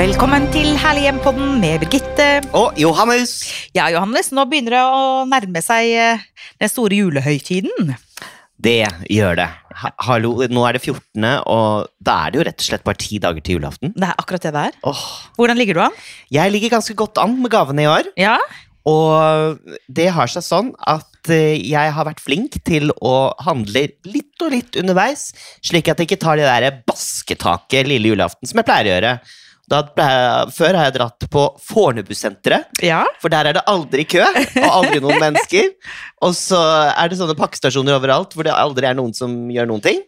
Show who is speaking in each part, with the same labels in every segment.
Speaker 1: Velkommen til Herlig hjem-podden med Birgitte.
Speaker 2: Og Johannes!
Speaker 1: Ja, Johannes, nå begynner det å nærme seg eh, den store julehøytiden.
Speaker 2: Det gjør det. Ha hallo, nå er det 14., og da er det jo rett og slett bare ti dager til julaften.
Speaker 1: Det er akkurat det det er.
Speaker 2: Åh,
Speaker 1: Hvordan ligger du an?
Speaker 2: jeg ligger ganske godt an med gavene i år,
Speaker 1: Ja,
Speaker 2: og det har seg sånn at eh, jeg har vært flink til å handle litt og litt underveis, slik at jeg ikke tar det der basketaket lille julaften som jeg pleier å gjøre. Da, pleier jeg- før har jeg dratt på Fornebusenteret,
Speaker 1: ja.
Speaker 2: For der er det aldri kø, og aldri noen mennesker. Og så er det sånne pakkestasjoner overalt hvor det aldri er noen som gjør noen ting.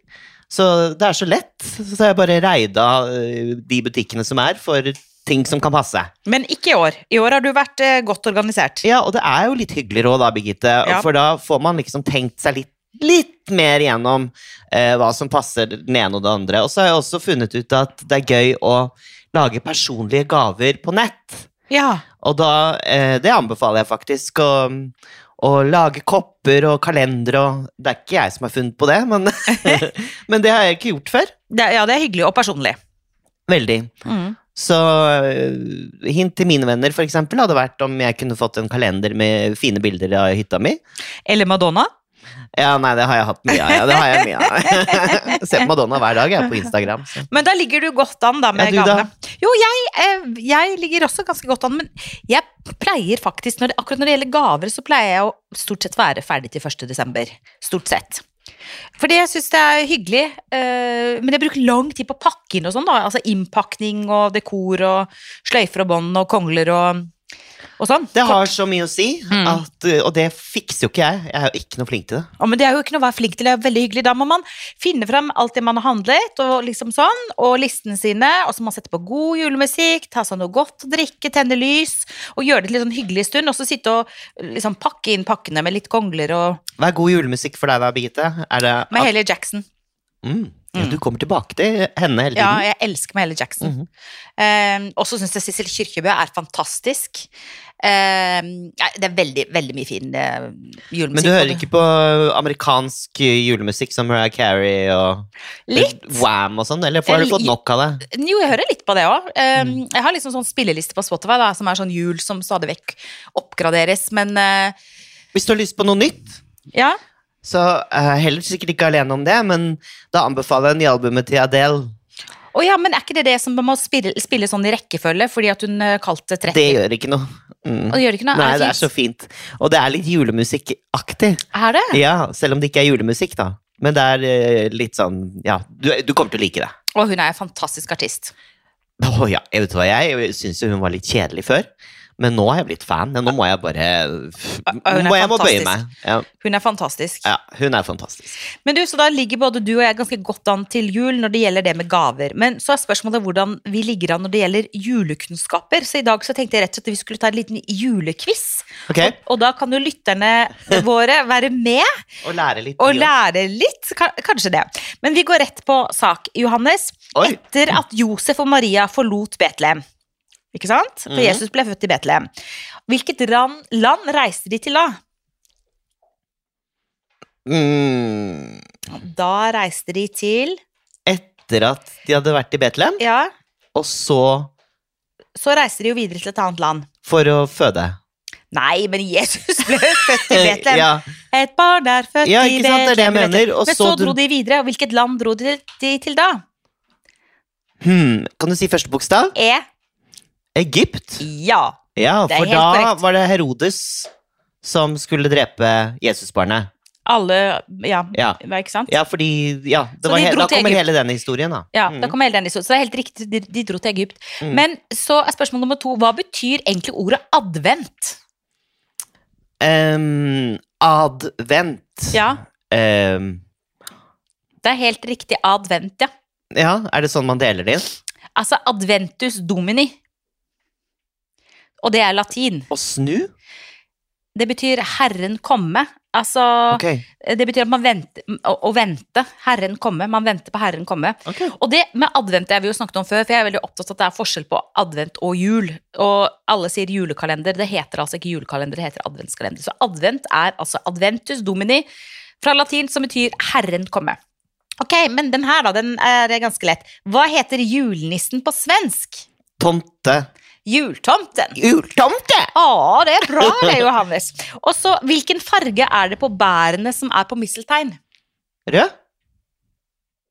Speaker 2: Så det er så lett. Så har jeg bare reida eh, de butikkene som er, for ting som kan passe.
Speaker 1: Men ikke i år. I år har du vært eh, godt organisert.
Speaker 2: Ja, og det er jo litt hyggeligere òg, da, Birgitte.
Speaker 1: Ja.
Speaker 2: For da får man liksom tenkt seg litt, litt mer gjennom eh, hva som passer den ene og det andre. Og så har jeg også funnet ut at det er gøy å lage personlige gaver på nett.
Speaker 1: Ja,
Speaker 2: Og da, eh, det anbefaler jeg faktisk å, å lage kopper og kalendere og Det er ikke jeg som har funnet på det, men, men det har jeg ikke gjort før.
Speaker 1: det, ja, det er hyggelig og personlig.
Speaker 2: Veldig.
Speaker 1: Mm.
Speaker 2: Så eh, hint til mine venner for eksempel, hadde vært om jeg kunne fått en kalender med fine bilder av hytta mi.
Speaker 1: Eller Madonna.
Speaker 2: Ja, nei, det har jeg hatt mye av. Ja, det har jeg mye av. Ser på Madonna hver dag jeg er på Instagram. Så.
Speaker 1: Men da ligger du godt an da med
Speaker 2: Ja, du da?
Speaker 1: gavene. Jo, jeg, eh, jeg ligger også ganske godt an, men jeg pleier faktisk, når det, akkurat når det gjelder gaver, så pleier jeg å stort sett være ferdig til 1. desember. Stort sett. Fordi jeg syns det er hyggelig, eh, men jeg bruker lang tid på å pakke inn og sånn, da. Altså innpakning og dekor og sløyfer og bånd og kongler og, og sånn.
Speaker 2: Det har så mye å si,
Speaker 1: Mm.
Speaker 2: at, og det fikser jo ikke jeg. Jeg er jo ikke noe flink til det.
Speaker 1: Ja, men det er jo ikke noe å være flink til, det er veldig hyggelig. Da må man finne frem alt det man har handlet, og liksom sånn, og listene sine, og så må man sette på god julemusikk, ta seg noe godt å drikke, tenne lys, og gjøre det til en sånn hyggelig stund, og så sitte og liksom pakke inn pakkene med litt kongler og
Speaker 2: Hva er god julemusikk for deg da, Birgitte? Er det
Speaker 1: Med Haley Jackson.
Speaker 2: Mm. Ja, du kommer tilbake til henne hele
Speaker 1: Ja,
Speaker 2: tiden.
Speaker 1: jeg elsker med Haley Jackson.
Speaker 2: Mhm.
Speaker 1: Eh, og så syns jeg Sissel Kyrkjebø er fantastisk. Eh, nei, det er veldig, veldig mye fin eh, julemusikk.
Speaker 2: Men du hører
Speaker 1: på det.
Speaker 2: ikke på amerikansk eh, julemusikk som Mariah Carey og
Speaker 1: Litt.
Speaker 2: Wham og sånn, eller har du fått nok av det?
Speaker 1: Jo, jeg hører litt på det òg.
Speaker 2: Mm.
Speaker 1: Jeg har liksom sånn spilleliste på Spotify da, som er sånn jul som stadig vekk oppgraderes, men eh,
Speaker 2: Hvis du har lyst på noe nytt,
Speaker 1: ja.
Speaker 2: så er jeg heller sikkert ikke alene om det, men da anbefaler jeg nyalbumet til Adele.
Speaker 1: Å ja, men er ikke det det som man må spille, spille sånn i rekkefølge fordi at hun eh, kalte 30?
Speaker 2: Det gjør ikke noe. Mm.
Speaker 1: Og det gjør ikke noe?
Speaker 2: Nei, det
Speaker 1: det
Speaker 2: er så fint. Og det er litt julemusikkaktig.
Speaker 1: Er det?
Speaker 2: Ja, selv om det ikke er julemusikk, da. Men det er eh, litt sånn Ja, du, du kommer til å like det.
Speaker 1: Og hun er en fantastisk artist.
Speaker 2: Å ja, jeg vet hva, jeg syns jo hun var litt kjedelig før. Men nå er jeg blitt fan. Nå må jeg bare
Speaker 1: Hun er
Speaker 2: må Jeg må bøye
Speaker 1: fantastisk.
Speaker 2: meg. Ja,
Speaker 1: Hun er fantastisk.
Speaker 2: ja, hun er fantastisk.
Speaker 1: Men du, Så da ligger både du og jeg ganske godt an til jul når det gjelder det med gaver. Men så er spørsmålet hvordan vi ligger an når det gjelder julekunnskaper. Så i dag så tenkte jeg rett og slett at vi skulle ta en liten julequiz.
Speaker 2: Ok,
Speaker 1: Og da kan jo lytterne våre være med
Speaker 2: Og lære litt.
Speaker 1: og
Speaker 2: til jul.
Speaker 1: lære litt. ka- Kanskje det. Men vi går rett på sak, Johannes.
Speaker 2: Oi.
Speaker 1: Etter at Josef og Maria forlot Betlehem, ikke sant? For
Speaker 2: Mhm.
Speaker 1: Jesus ble født i Betlehem. Hvilket ran, land reiste de til da?
Speaker 2: Mm,
Speaker 1: Da reiste de til
Speaker 2: etter at de hadde vært i Betlehem,
Speaker 1: Ja,
Speaker 2: og så
Speaker 1: så reiste de jo videre til et annet land.
Speaker 2: for å føde.
Speaker 1: Nei, men Jesus ble jo født i Betlehem.
Speaker 2: Ja,
Speaker 1: Et barn er født
Speaker 2: ja,
Speaker 1: i
Speaker 2: ikke sant, det er det jeg
Speaker 1: Betlehem.
Speaker 2: mener. Og
Speaker 1: Men
Speaker 2: så
Speaker 1: så dro de videre, og hvilket land dro de de til da?
Speaker 2: hmm, Kan du si første bokstav?
Speaker 1: E.
Speaker 2: Egypt.
Speaker 1: Ja.
Speaker 2: Ja,
Speaker 1: Det er
Speaker 2: for
Speaker 1: helt
Speaker 2: da
Speaker 1: korrekt.
Speaker 2: var det Herodes som skulle drepe Jesusbarnet.
Speaker 1: Alle Ja,
Speaker 2: Ja.
Speaker 1: ikke sant?
Speaker 2: Ja, fordi ja, det
Speaker 1: Så
Speaker 2: var
Speaker 1: de
Speaker 2: he
Speaker 1: dro
Speaker 2: Da
Speaker 1: til
Speaker 2: kommer
Speaker 1: Egypt.
Speaker 2: hele den historien, da.
Speaker 1: Ja,
Speaker 2: Mm.
Speaker 1: da kom hele den historien. Så det er helt riktig, de, de dro til Egypt.
Speaker 2: Mm.
Speaker 1: Men så er spørsmål nummer to, hva betyr egentlig ordet advent?
Speaker 2: Ehm, advent.
Speaker 1: Ja,
Speaker 2: Ehm,
Speaker 1: det er helt riktig advent, ja.
Speaker 2: ja, er det sånn man deler det inn?
Speaker 1: Altså adventus domini. Og det er latin.
Speaker 2: Å snu?
Speaker 1: Det betyr herren komme. Altså,
Speaker 2: Ok.
Speaker 1: det betyr at man venter, å, å vente. Herren komme. Man venter på herren komme.
Speaker 2: ok.
Speaker 1: Og det med advent det har vi jo snakket om før, for jeg er veldig opptatt av at det er forskjell på advent og jul. Og alle sier julekalender. Det heter altså ikke julekalender, det heter adventskalender. Så advent er altså adventus domini fra latin, som betyr Herren komme. Ok, men den her da, den er ganske lett. Hva heter julenissen på svensk?
Speaker 2: Tomte.
Speaker 1: Jultomten.
Speaker 2: Jultomte!
Speaker 1: Å, det er bra det, Johannes. Og så, hvilken farge er det på bærene som er på misteltein?
Speaker 2: Rød?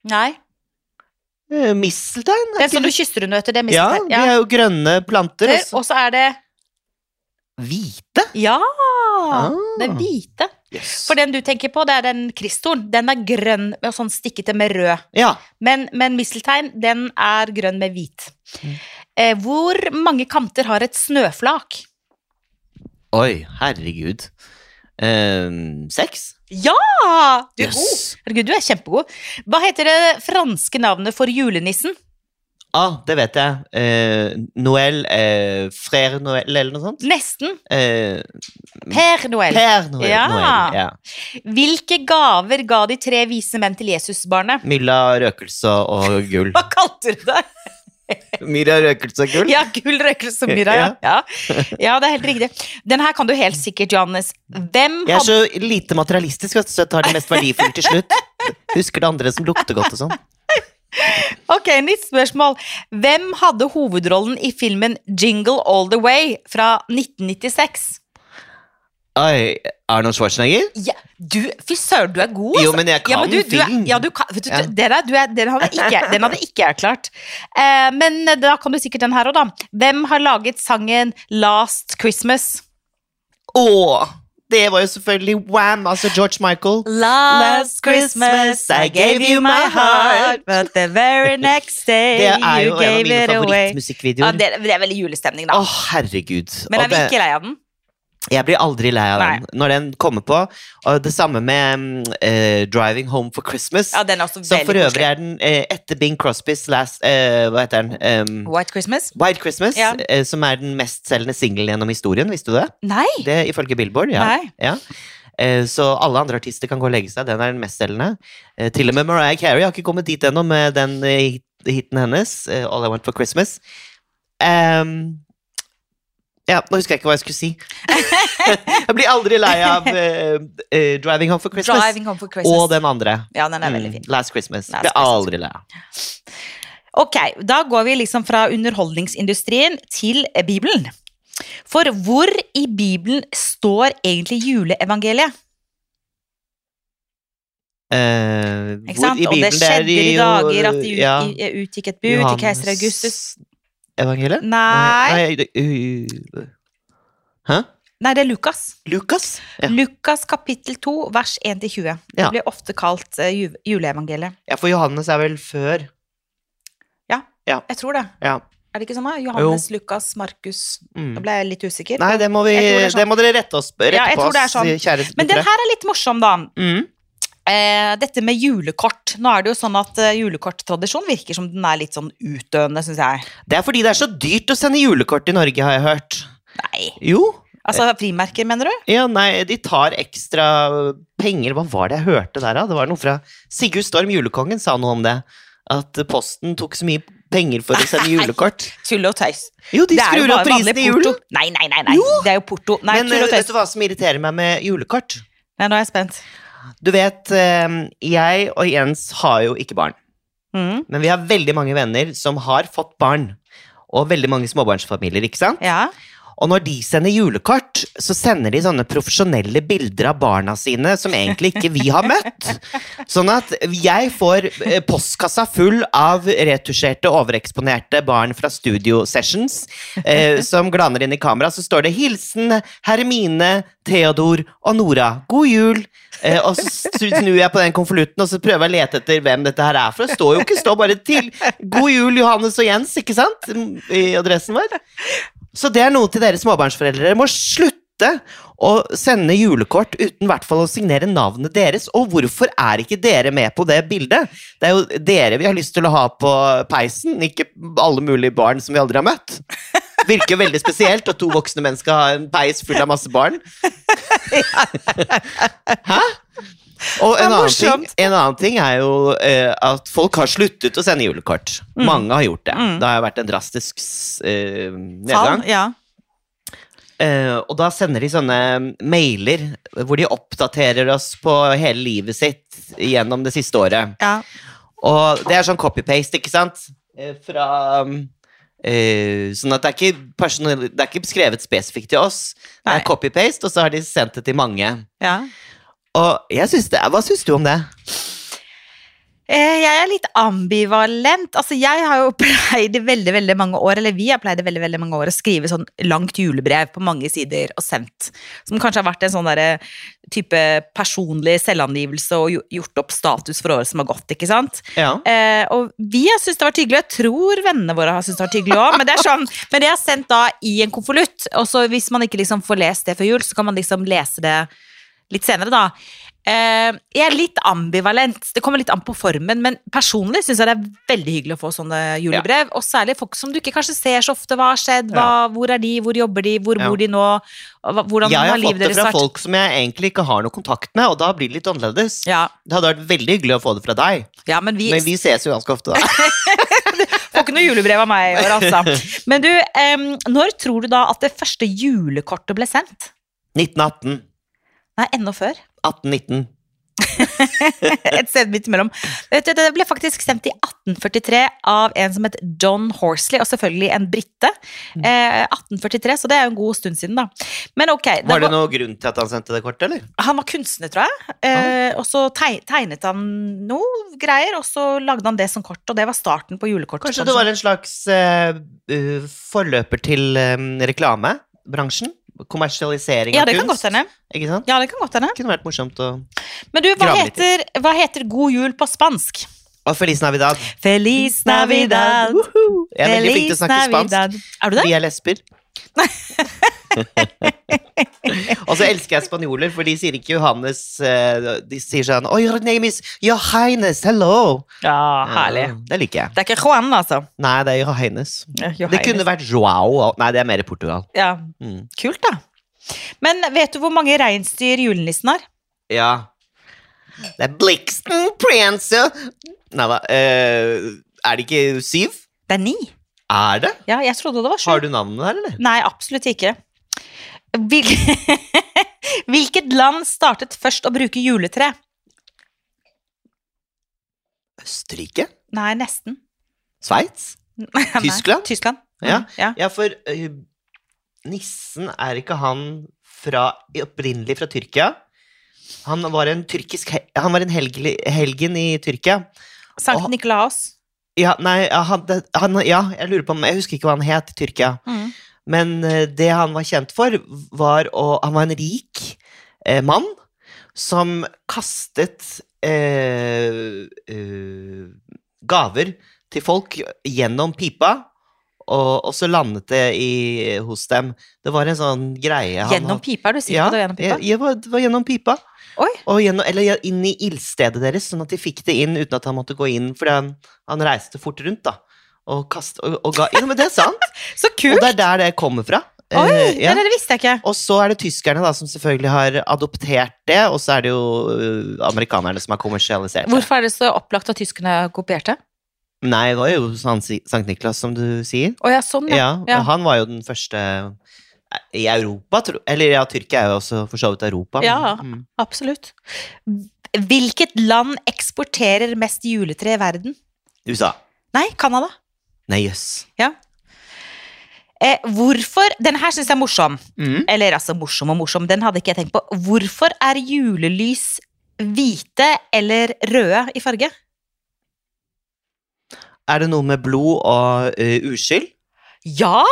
Speaker 1: Nei,
Speaker 2: Eh, Misteltein?
Speaker 1: det er sånn du kysser under, vet du, det er
Speaker 2: Ja,
Speaker 1: misteltein.
Speaker 2: de er jo grønne planter.
Speaker 1: Der,
Speaker 2: Også.
Speaker 1: Og så er det
Speaker 2: Hvite?
Speaker 1: Ja!
Speaker 2: Ah.
Speaker 1: Det er hvite.
Speaker 2: Yes.
Speaker 1: For den du tenker på, det er den kristoren. Den er grønn og sånn stikkete med rød.
Speaker 2: Ja.
Speaker 1: Men, men misteltein, den er grønn med hvit.
Speaker 2: Mm.
Speaker 1: Eh, hvor mange kanter har et snøflak?
Speaker 2: Oi, herregud. Um, seks?
Speaker 1: Ja! Du er god.
Speaker 2: Yes.
Speaker 1: Herregud, du er kjempegod. Hva heter det franske navnet for julenissen?
Speaker 2: Ah, det vet jeg. Eh, Noël eh, Frère Noël, eller noe sånt.
Speaker 1: Nesten.
Speaker 2: Eh,
Speaker 1: Per Noël.
Speaker 2: per Noël.
Speaker 1: Ja.
Speaker 2: Noël, ja.
Speaker 1: Hvilke gaver ga de tre vise menn til Jesusbarnet?
Speaker 2: Mylla røkelse og gull.
Speaker 1: Hva kalte du det?
Speaker 2: Mylla røkelse og gull?
Speaker 1: Ja, gull røkelse og myra. Ja. Ja. ja, det er helt riktig. Den her kan du helt sikkert, Johannes. Hvem
Speaker 2: Jeg er så lite materialistisk, vet du, så jeg tar det mest verdifulle til slutt. Husker det andre som lukter godt og sånn.
Speaker 1: Ok, nytt spørsmål. Hvem hadde hovedrollen i filmen Jingle All The Way fra 1996?
Speaker 2: Oi, Arnold Schwarzenegger?
Speaker 1: Ja, du, fy søren, du er god, altså.
Speaker 2: Jo, men jeg
Speaker 1: ja, men
Speaker 2: kan
Speaker 1: du, du er,
Speaker 2: film.
Speaker 1: ja, du kan, vet du,
Speaker 2: Ja.
Speaker 1: det der, du er, den, hadde ikke, den hadde ikke jeg klart. Eh, men da kan du sikkert den her òg, da. Hvem har laget sangen Last Christmas?
Speaker 2: Åh, det var jo selvfølgelig Wham! Altså George Michael. Last Christmas, I gave you my heart,
Speaker 1: but the very next day
Speaker 2: Det er jo en av mine favorittmusikkvideoer.
Speaker 1: Ja,
Speaker 2: Åh,
Speaker 1: det, det er veldig julestemning, da.
Speaker 2: herregud.
Speaker 1: men
Speaker 2: Og
Speaker 1: er vi
Speaker 2: det-
Speaker 1: ikke lei av den?
Speaker 2: Jeg blir aldri lei av den når den kommer på. Og det samme med mm, eh, Driving Home for Christmas.
Speaker 1: Ja, den er også
Speaker 2: som
Speaker 1: veldig
Speaker 2: for øvrig
Speaker 1: koselig.
Speaker 2: er den eh, etter Bing Crosbys last eh, Hva heter den? Um,
Speaker 1: White Christmas?
Speaker 2: White Christmas,
Speaker 1: Ja.
Speaker 2: eh, som er den mestselgende singelen gjennom historien. Visste du det?
Speaker 1: Nei!
Speaker 2: Det Ifølge Billboard, ja.
Speaker 1: Nei.
Speaker 2: ja. Eh, Så alle andre artister kan gå og legge seg. Den er den mestselgende. Eh, Til og med Mariah Carey har ikke kommet dit ennå med den eh, hit- hiten hennes, eh, All I Want for Christmas. Ehm, ja, nå husker jeg ikke hva jeg skulle si. jeg blir aldri lei av eh, eh, Driving Home for Christmas.
Speaker 1: Driving Home for Christmas.
Speaker 2: Og den andre.
Speaker 1: Ja, den er veldig
Speaker 2: Mm,
Speaker 1: fin.
Speaker 2: Last Christmas.
Speaker 1: Last
Speaker 2: blir aldri lei av.
Speaker 1: Ok, da går vi liksom fra underholdningsindustrien til eh, Bibelen. For hvor i Bibelen står egentlig juleevangeliet?
Speaker 2: Eh,
Speaker 1: Ikke
Speaker 2: hvor
Speaker 1: sant?
Speaker 2: i
Speaker 1: Og det
Speaker 2: Bibelen, er
Speaker 1: skjedde i
Speaker 2: jo-
Speaker 1: dager at det ut,
Speaker 2: ja,
Speaker 1: i- utgikk et bud til keiser Augustus.
Speaker 2: Evangeliet?
Speaker 1: Nei,
Speaker 2: Nei, det- uh, Hæ?
Speaker 1: nei, det er Lukas.
Speaker 2: Lukas? Ja.
Speaker 1: Lukas kapittel 2, vers 1-20. Det
Speaker 2: Ja.
Speaker 1: blir ofte kalt eh, ju- juleevangeliet.
Speaker 2: ja, for Johannes er vel før.
Speaker 1: Jeg tror det.
Speaker 2: Ja.
Speaker 1: Er det ikke sånn? da? Johannes, Lukas, Markus. Da
Speaker 2: Mm.
Speaker 1: ble jeg litt usikker.
Speaker 2: Nei, det må, vi,
Speaker 1: Jeg tror det er sånn.
Speaker 2: det, må dere rette, oss, rette
Speaker 1: Ja, jeg
Speaker 2: på
Speaker 1: tror
Speaker 2: oss,
Speaker 1: det er sånn.
Speaker 2: kjære
Speaker 1: Men den her er litt morsom, da.
Speaker 2: mm.
Speaker 1: Eh, dette med julekort. Nå er det jo sånn at eh, julekorttradisjonen virker som den er litt sånn utdøende, syns jeg.
Speaker 2: Det er fordi det er så dyrt å sende julekort i Norge, har jeg hørt.
Speaker 1: Nei.
Speaker 2: Jo. Eh.
Speaker 1: Altså frimerker, mener du?
Speaker 2: Ja, nei, de tar ekstra penger. Hva var det jeg hørte der, da? Det var noe fra Sigurd Storm, julekongen, sa noe om det. At Posten tok så mye penger for å sende julekort.
Speaker 1: Tull og tøys.
Speaker 2: Jo, de
Speaker 1: Det er jo
Speaker 2: skrur
Speaker 1: bare
Speaker 2: opp prisen
Speaker 1: vanlig
Speaker 2: i julen.
Speaker 1: porto. Nei, nei, nei. nei. Det er jo porto. Nei,
Speaker 2: Men
Speaker 1: tull
Speaker 2: eh,
Speaker 1: og
Speaker 2: vet
Speaker 1: tøys.
Speaker 2: du hva som irriterer meg med julekort?
Speaker 1: Nei, nå er jeg spent.
Speaker 2: Du vet, eh, jeg og Jens har jo ikke barn.
Speaker 1: Mm.
Speaker 2: Men vi har veldig mange venner som har fått barn. Og veldig mange småbarnsfamilier, ikke sant?
Speaker 1: Ja.
Speaker 2: Og når de sender julekort, så sender de sånne profesjonelle bilder av barna sine som egentlig ikke vi har møtt. Sånn at jeg får eh, postkassa full av retusjerte, overeksponerte barn fra studio sessions eh, som glaner inn i kamera. Så står det 'Hilsen Hermine, Theodor og Nora. God jul'. Eh, og så snur jeg på den konvolutten og så prøver jeg å lete etter hvem dette her er for. Det står jo ikke, det står bare til 'God jul, Johannes og Jens', ikke sant? I adressen vår. Så det er noe til dere småbarnsforeldre. Dere må slutte å sende julekort uten i hvert fall å signere navnet deres. Og hvorfor er ikke dere med på det bildet? Det er jo dere vi har lyst til å ha på peisen, ikke alle mulige barn som vi aldri har møtt. Virker jo veldig spesielt at to voksne menn skal ha en peis full av masse barn. Hæ? Og
Speaker 1: Det er
Speaker 2: en annen, ting,
Speaker 1: morsomt.
Speaker 2: en annen ting er jo eh, at folk har sluttet å sende julekort. Mange har gjort det.
Speaker 1: Mm.
Speaker 2: Det har jo vært en drastisk s- eh, nedgang.
Speaker 1: Fall, ja.
Speaker 2: Eh, og da sender de sånne mailer hvor de oppdaterer oss på hele livet sitt gjennom det siste året.
Speaker 1: ja.
Speaker 2: Og det er sånn copy-paste, ikke sant? Eh, fra um, Eh, sånn at det er, ikke personal, det er ikke skrevet spesifikt til oss. Det
Speaker 1: Nei.
Speaker 2: er copy-paste, og så har de sendt det til mange.
Speaker 1: Ja.
Speaker 2: Og jeg synes det, Hva syns du om det?
Speaker 1: Eh, Jeg er litt ambivalent. Altså, jeg har jo pleid i veldig, veldig mange år, eller vi har pleid i veldig, veldig mange år å skrive sånn langt julebrev på mange sider og sendt. Som kanskje har vært en sånn derre type personlig selvangivelse og gjo- gjort opp status for året som har gått, ikke sant.
Speaker 2: Ja.
Speaker 1: Eh, og vi har syntes det har vært hyggelig, og jeg tror vennene våre har syntes det har vært hyggelig òg. Men det er sånn, men det er sendt da i en konvolutt, og så hvis man ikke liksom får lest det før jul, så kan man liksom lese det litt senere, da. Eh, jeg er litt ambivalent. Det kommer litt an på formen, men personlig syns jeg det er veldig hyggelig å få sånne julebrev. Og særlig folk som du ikke kanskje ser så ofte. Hva har skjedd? Hva, Hvor er de? Hvor jobber de? Hvor
Speaker 2: Ja.
Speaker 1: bor de nå? Og hva- Hvordan
Speaker 2: Jeg
Speaker 1: har
Speaker 2: har fått
Speaker 1: livet
Speaker 2: det
Speaker 1: deres vært?
Speaker 2: fra folk som jeg egentlig ikke har noe kontakt med, og da blir det litt annerledes.
Speaker 1: Ja,
Speaker 2: Det hadde vært veldig hyggelig å få det fra deg,
Speaker 1: ja, men vi
Speaker 2: men vi ses jo ganske ofte, da.
Speaker 1: Får ikke noe julebrev av meg i år, altså. Men du, em, når tror du da at det første julekortet ble sendt?
Speaker 2: 1918.
Speaker 1: Nei, enda før.
Speaker 2: 1819.
Speaker 1: Et sted midt imellom. Vet du, Det ble faktisk sendt i 1843 av en som het John Horsley, og selvfølgelig en brite. Eh, 1843, så det er jo en god stund siden, da. Men ok. det
Speaker 2: Var det
Speaker 1: var-
Speaker 2: noen grunn til at han sendte det kortet, eller?
Speaker 1: Han var kunstner, tror jeg. Eh, og så teg- tegnet han noe greier, og så lagde han det som kort, og det var starten på julekortet. Sånn
Speaker 2: Kanskje det var en slags eh, eh, forløper til eh, reklamebransjen? Kommersialisering
Speaker 1: ja,
Speaker 2: av
Speaker 1: det kan godt
Speaker 2: kunst?
Speaker 1: hende.
Speaker 2: Ikke sant?
Speaker 1: Ja, det kan godt hende.
Speaker 2: Det kunne vært morsomt å
Speaker 1: Men du, hva
Speaker 2: Grave litt
Speaker 1: heter, hva heter god jul på spansk?
Speaker 2: Og Feliz Navidad.
Speaker 1: Feliz Navidad.
Speaker 2: Woohoo! Mm. Jeg er veldig flink til å snakke spansk.
Speaker 1: Er du det?
Speaker 2: Vi er lesber. og så elsker jeg spanjoler, for de sier ikke Johannes eh, De sier sånn Oh, your name is Johannes, hello!
Speaker 1: Ja, herlig.
Speaker 2: Ja, Det liker jeg.
Speaker 1: Det er ikke Juan, altså.
Speaker 2: Nei, det er Johannes.
Speaker 1: Ja,
Speaker 2: Det kunne vært Joao. og- Nei, det er mer i Portugal.
Speaker 1: Ja,
Speaker 2: Mm.
Speaker 1: kult da. Men vet du hvor mange reinsdyr julenissen har?
Speaker 2: Ja. Det er Blixten Prancer Nei da. eh, er det ikke syv?
Speaker 1: Det er ni.
Speaker 2: Er det?
Speaker 1: Ja, jeg trodde det var sju.
Speaker 2: Har du navnet der, eller?
Speaker 1: Nei, absolutt ikke. Hvil... Hvilket land startet først å bruke juletre?
Speaker 2: Østerrike?
Speaker 1: Nei, nesten.
Speaker 2: Sveits?
Speaker 1: Nei,
Speaker 2: Tyskland?
Speaker 1: Tyskland.
Speaker 2: Ja.
Speaker 1: Mm, ja.
Speaker 2: Ja, for eh, nissen er ikke han fra, opprinnelig fra Tyrkia. Han var en, tyrkisk, he- han var en helgli, helgen i Tyrkia.
Speaker 1: Sankt
Speaker 2: Og-
Speaker 1: Nikolaos.
Speaker 2: Ja, nei, ja, han, det- han, ja, jeg lurer på om Jeg husker ikke hva han het i Tyrkia.
Speaker 1: Mm.
Speaker 2: Men eh, det han var kjent for, var å Han var en rik eh, mann som kastet eh, eh, gaver til folk gjennom pipa, og, og så landet det i, hos dem. Det var en sånn greie han
Speaker 1: Gjennom
Speaker 2: hadde-
Speaker 1: pipa, er du sikker
Speaker 2: Ja,
Speaker 1: på det? var Gjennom pipa?
Speaker 2: ja, ja, det var- det var gjennom pipa.
Speaker 1: Oi.
Speaker 2: Og gjennom, eller ja, inn i ildstedet deres, sånn at de fikk det inn uten at han måtte gå inn, fordi han, han reiste fort rundt, da. Og, kast, og, og ga Ja, men det er sant!
Speaker 1: Så kult!
Speaker 2: Og det er der det kommer fra.
Speaker 1: Oi,
Speaker 2: Eh,
Speaker 1: det
Speaker 2: ja.
Speaker 1: der visste jeg ikke.
Speaker 2: Og så er det tyskerne da, som selvfølgelig har adoptert det, og så er det jo eh, amerikanerne som har kommersialisert det.
Speaker 1: Hvorfor er det så opplagt at tyskerne kopierte?
Speaker 2: Nei, det var jo sånn si- Sankt Niklas, som du sier.
Speaker 1: Å ja, sånn, ja.
Speaker 2: Ja, Han var jo den første eh, i Europa, tro- eller ja, Tyrkia er jo også for så vidt Europa. men-
Speaker 1: Ja.
Speaker 2: Mm.
Speaker 1: Absolutt. Hvilket land eksporterer mest juletre i verden?
Speaker 2: USA.
Speaker 1: Nei, Canada.
Speaker 2: Nei, jøss.
Speaker 1: Eh, hvorfor Den her syns jeg er morsom.
Speaker 2: Mm.
Speaker 1: Eller altså morsom og morsom, den hadde ikke jeg tenkt på. Hvorfor er julelys hvite eller røde i farge?
Speaker 2: Er det noe med blod og eh, uskyld?
Speaker 1: Ja!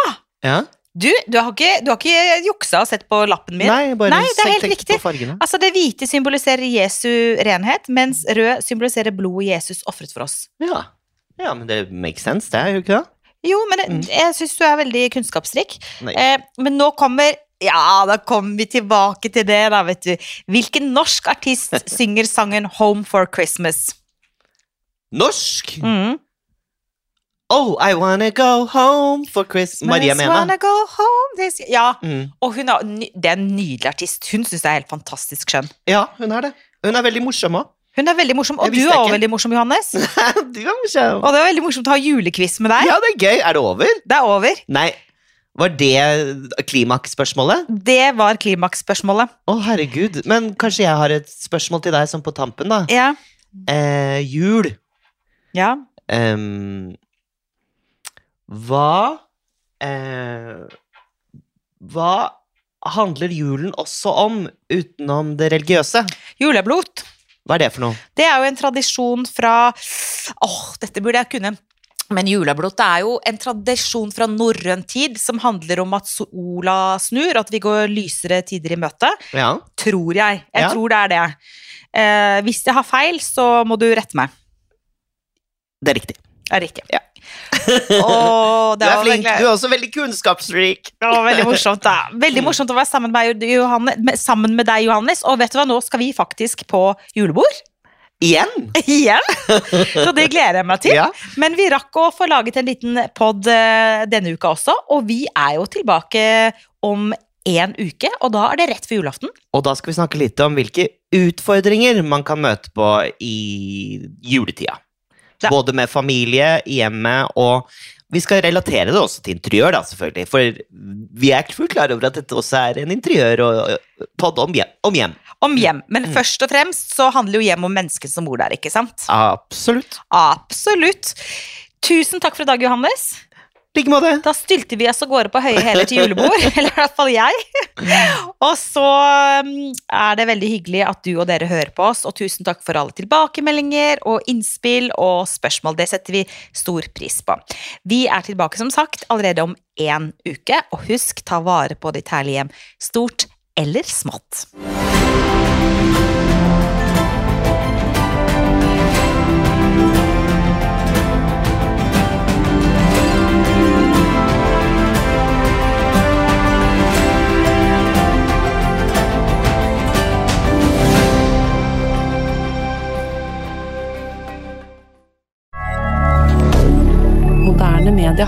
Speaker 2: Ja.
Speaker 1: Du, du har ikke, du har ikke juksa og sett på lappen min.
Speaker 2: Nei, bare
Speaker 1: Nei, det er
Speaker 2: tenk-
Speaker 1: helt
Speaker 2: tenk
Speaker 1: riktig.
Speaker 2: på fargene.
Speaker 1: Altså, det hvite symboliserer Jesu renhet, mens rød symboliserer blodet Jesus ofret for oss.
Speaker 2: Ja. ja, men det makes sense, det, gjør det ikke det?
Speaker 1: Jo, men det,
Speaker 2: Mm.
Speaker 1: jeg syns du er veldig kunnskapsrik.
Speaker 2: Nei.
Speaker 1: Eh, men nå kommer Ja, da kommer vi tilbake til det, da, vet du. Hvilken norsk artist synger sangen Home for Christmas?
Speaker 2: Norsk!
Speaker 1: Mm.
Speaker 2: Oh, I wanna go home for Christmas. Maria
Speaker 1: Just
Speaker 2: Mena.
Speaker 1: wanna go home this... Ja,
Speaker 2: Mm.
Speaker 1: og hun er, ny- det er en nydelig artist. Hun syns jeg er helt fantastisk skjønn.
Speaker 2: Ja, hun er det. Hun er veldig morsom òg.
Speaker 1: Hun er veldig morsom, og
Speaker 2: Jeg
Speaker 1: du
Speaker 2: visste
Speaker 1: er
Speaker 2: ikke.
Speaker 1: også veldig morsom, Johannes.
Speaker 2: du er morsom.
Speaker 1: Og det var veldig morsomt å ha julequiz med deg.
Speaker 2: Ja, det er gøy. Er det over?
Speaker 1: Det er over.
Speaker 2: Nei. Var det klimaksspørsmålet?
Speaker 1: Det var klimaksspørsmålet.
Speaker 2: Å, herregud. Men kanskje jeg har et spørsmål til deg sånn på tampen, da.
Speaker 1: Ja.
Speaker 2: Eh, jul.
Speaker 1: ja.
Speaker 2: Ehm, Hva eh, Hva handler julen også om, utenom det religiøse?
Speaker 1: Juleblot.
Speaker 2: Hva er det for noe?
Speaker 1: Det er jo en tradisjon fra Åh, dette burde jeg kunne. Men juleblot er jo en tradisjon fra norrøn tid som handler om at sola snur, at vi går lysere tider i møte.
Speaker 2: Ja.
Speaker 1: Tror jeg. Jeg
Speaker 2: Ja.
Speaker 1: tror det er det. Eh, hvis jeg har feil, så må du rette meg.
Speaker 2: Det er riktig.
Speaker 1: Er det ikke?
Speaker 2: Ja.
Speaker 1: Åh,
Speaker 2: Du
Speaker 1: det
Speaker 2: er
Speaker 1: var
Speaker 2: flink.
Speaker 1: virkelig-
Speaker 2: Du er Mm. også veldig kunnskapsrik.
Speaker 1: Det var veldig morsomt, da. Veldig morsomt å være sammen med, deg, Johanne, med- sammen med deg, Johannes. Og vet du hva, nå skal vi faktisk på julebord
Speaker 2: Igjen?
Speaker 1: igjen. Så det gleder jeg meg til.
Speaker 2: Ja.
Speaker 1: Men vi rakk å få laget en liten pod eh, denne uka også, og vi er jo tilbake om en uke, og da er det rett før julaften.
Speaker 2: Og da skal vi snakke litt om hvilke utfordringer man kan møte på i juletida.
Speaker 1: Ja.
Speaker 2: Både med familie, i hjemmet og Vi skal relatere det også til interiør, da, selvfølgelig. For vi er fullt klar over at dette også er en interiør- og og podd om hjem. Om hjem.
Speaker 1: Om hjem. Men først og fremst så handler jo hjem om menneskene som bor der, ikke sant?
Speaker 2: Absolutt.
Speaker 1: Absolutt. Tusen takk for i dag, Johannes.
Speaker 2: I like måte.
Speaker 1: Da stylte vi oss av gårde på høye hæler til julebord, eller i hvert fall jeg. Og så um, er det veldig hyggelig at du og dere hører på oss, og tusen takk for alle tilbakemeldinger og innspill og spørsmål. Det setter vi stor pris på. Vi er tilbake som sagt allerede om én uke, og husk, ta vare på ditt herlige hjem, stort eller smått.
Speaker 3: Moderne media.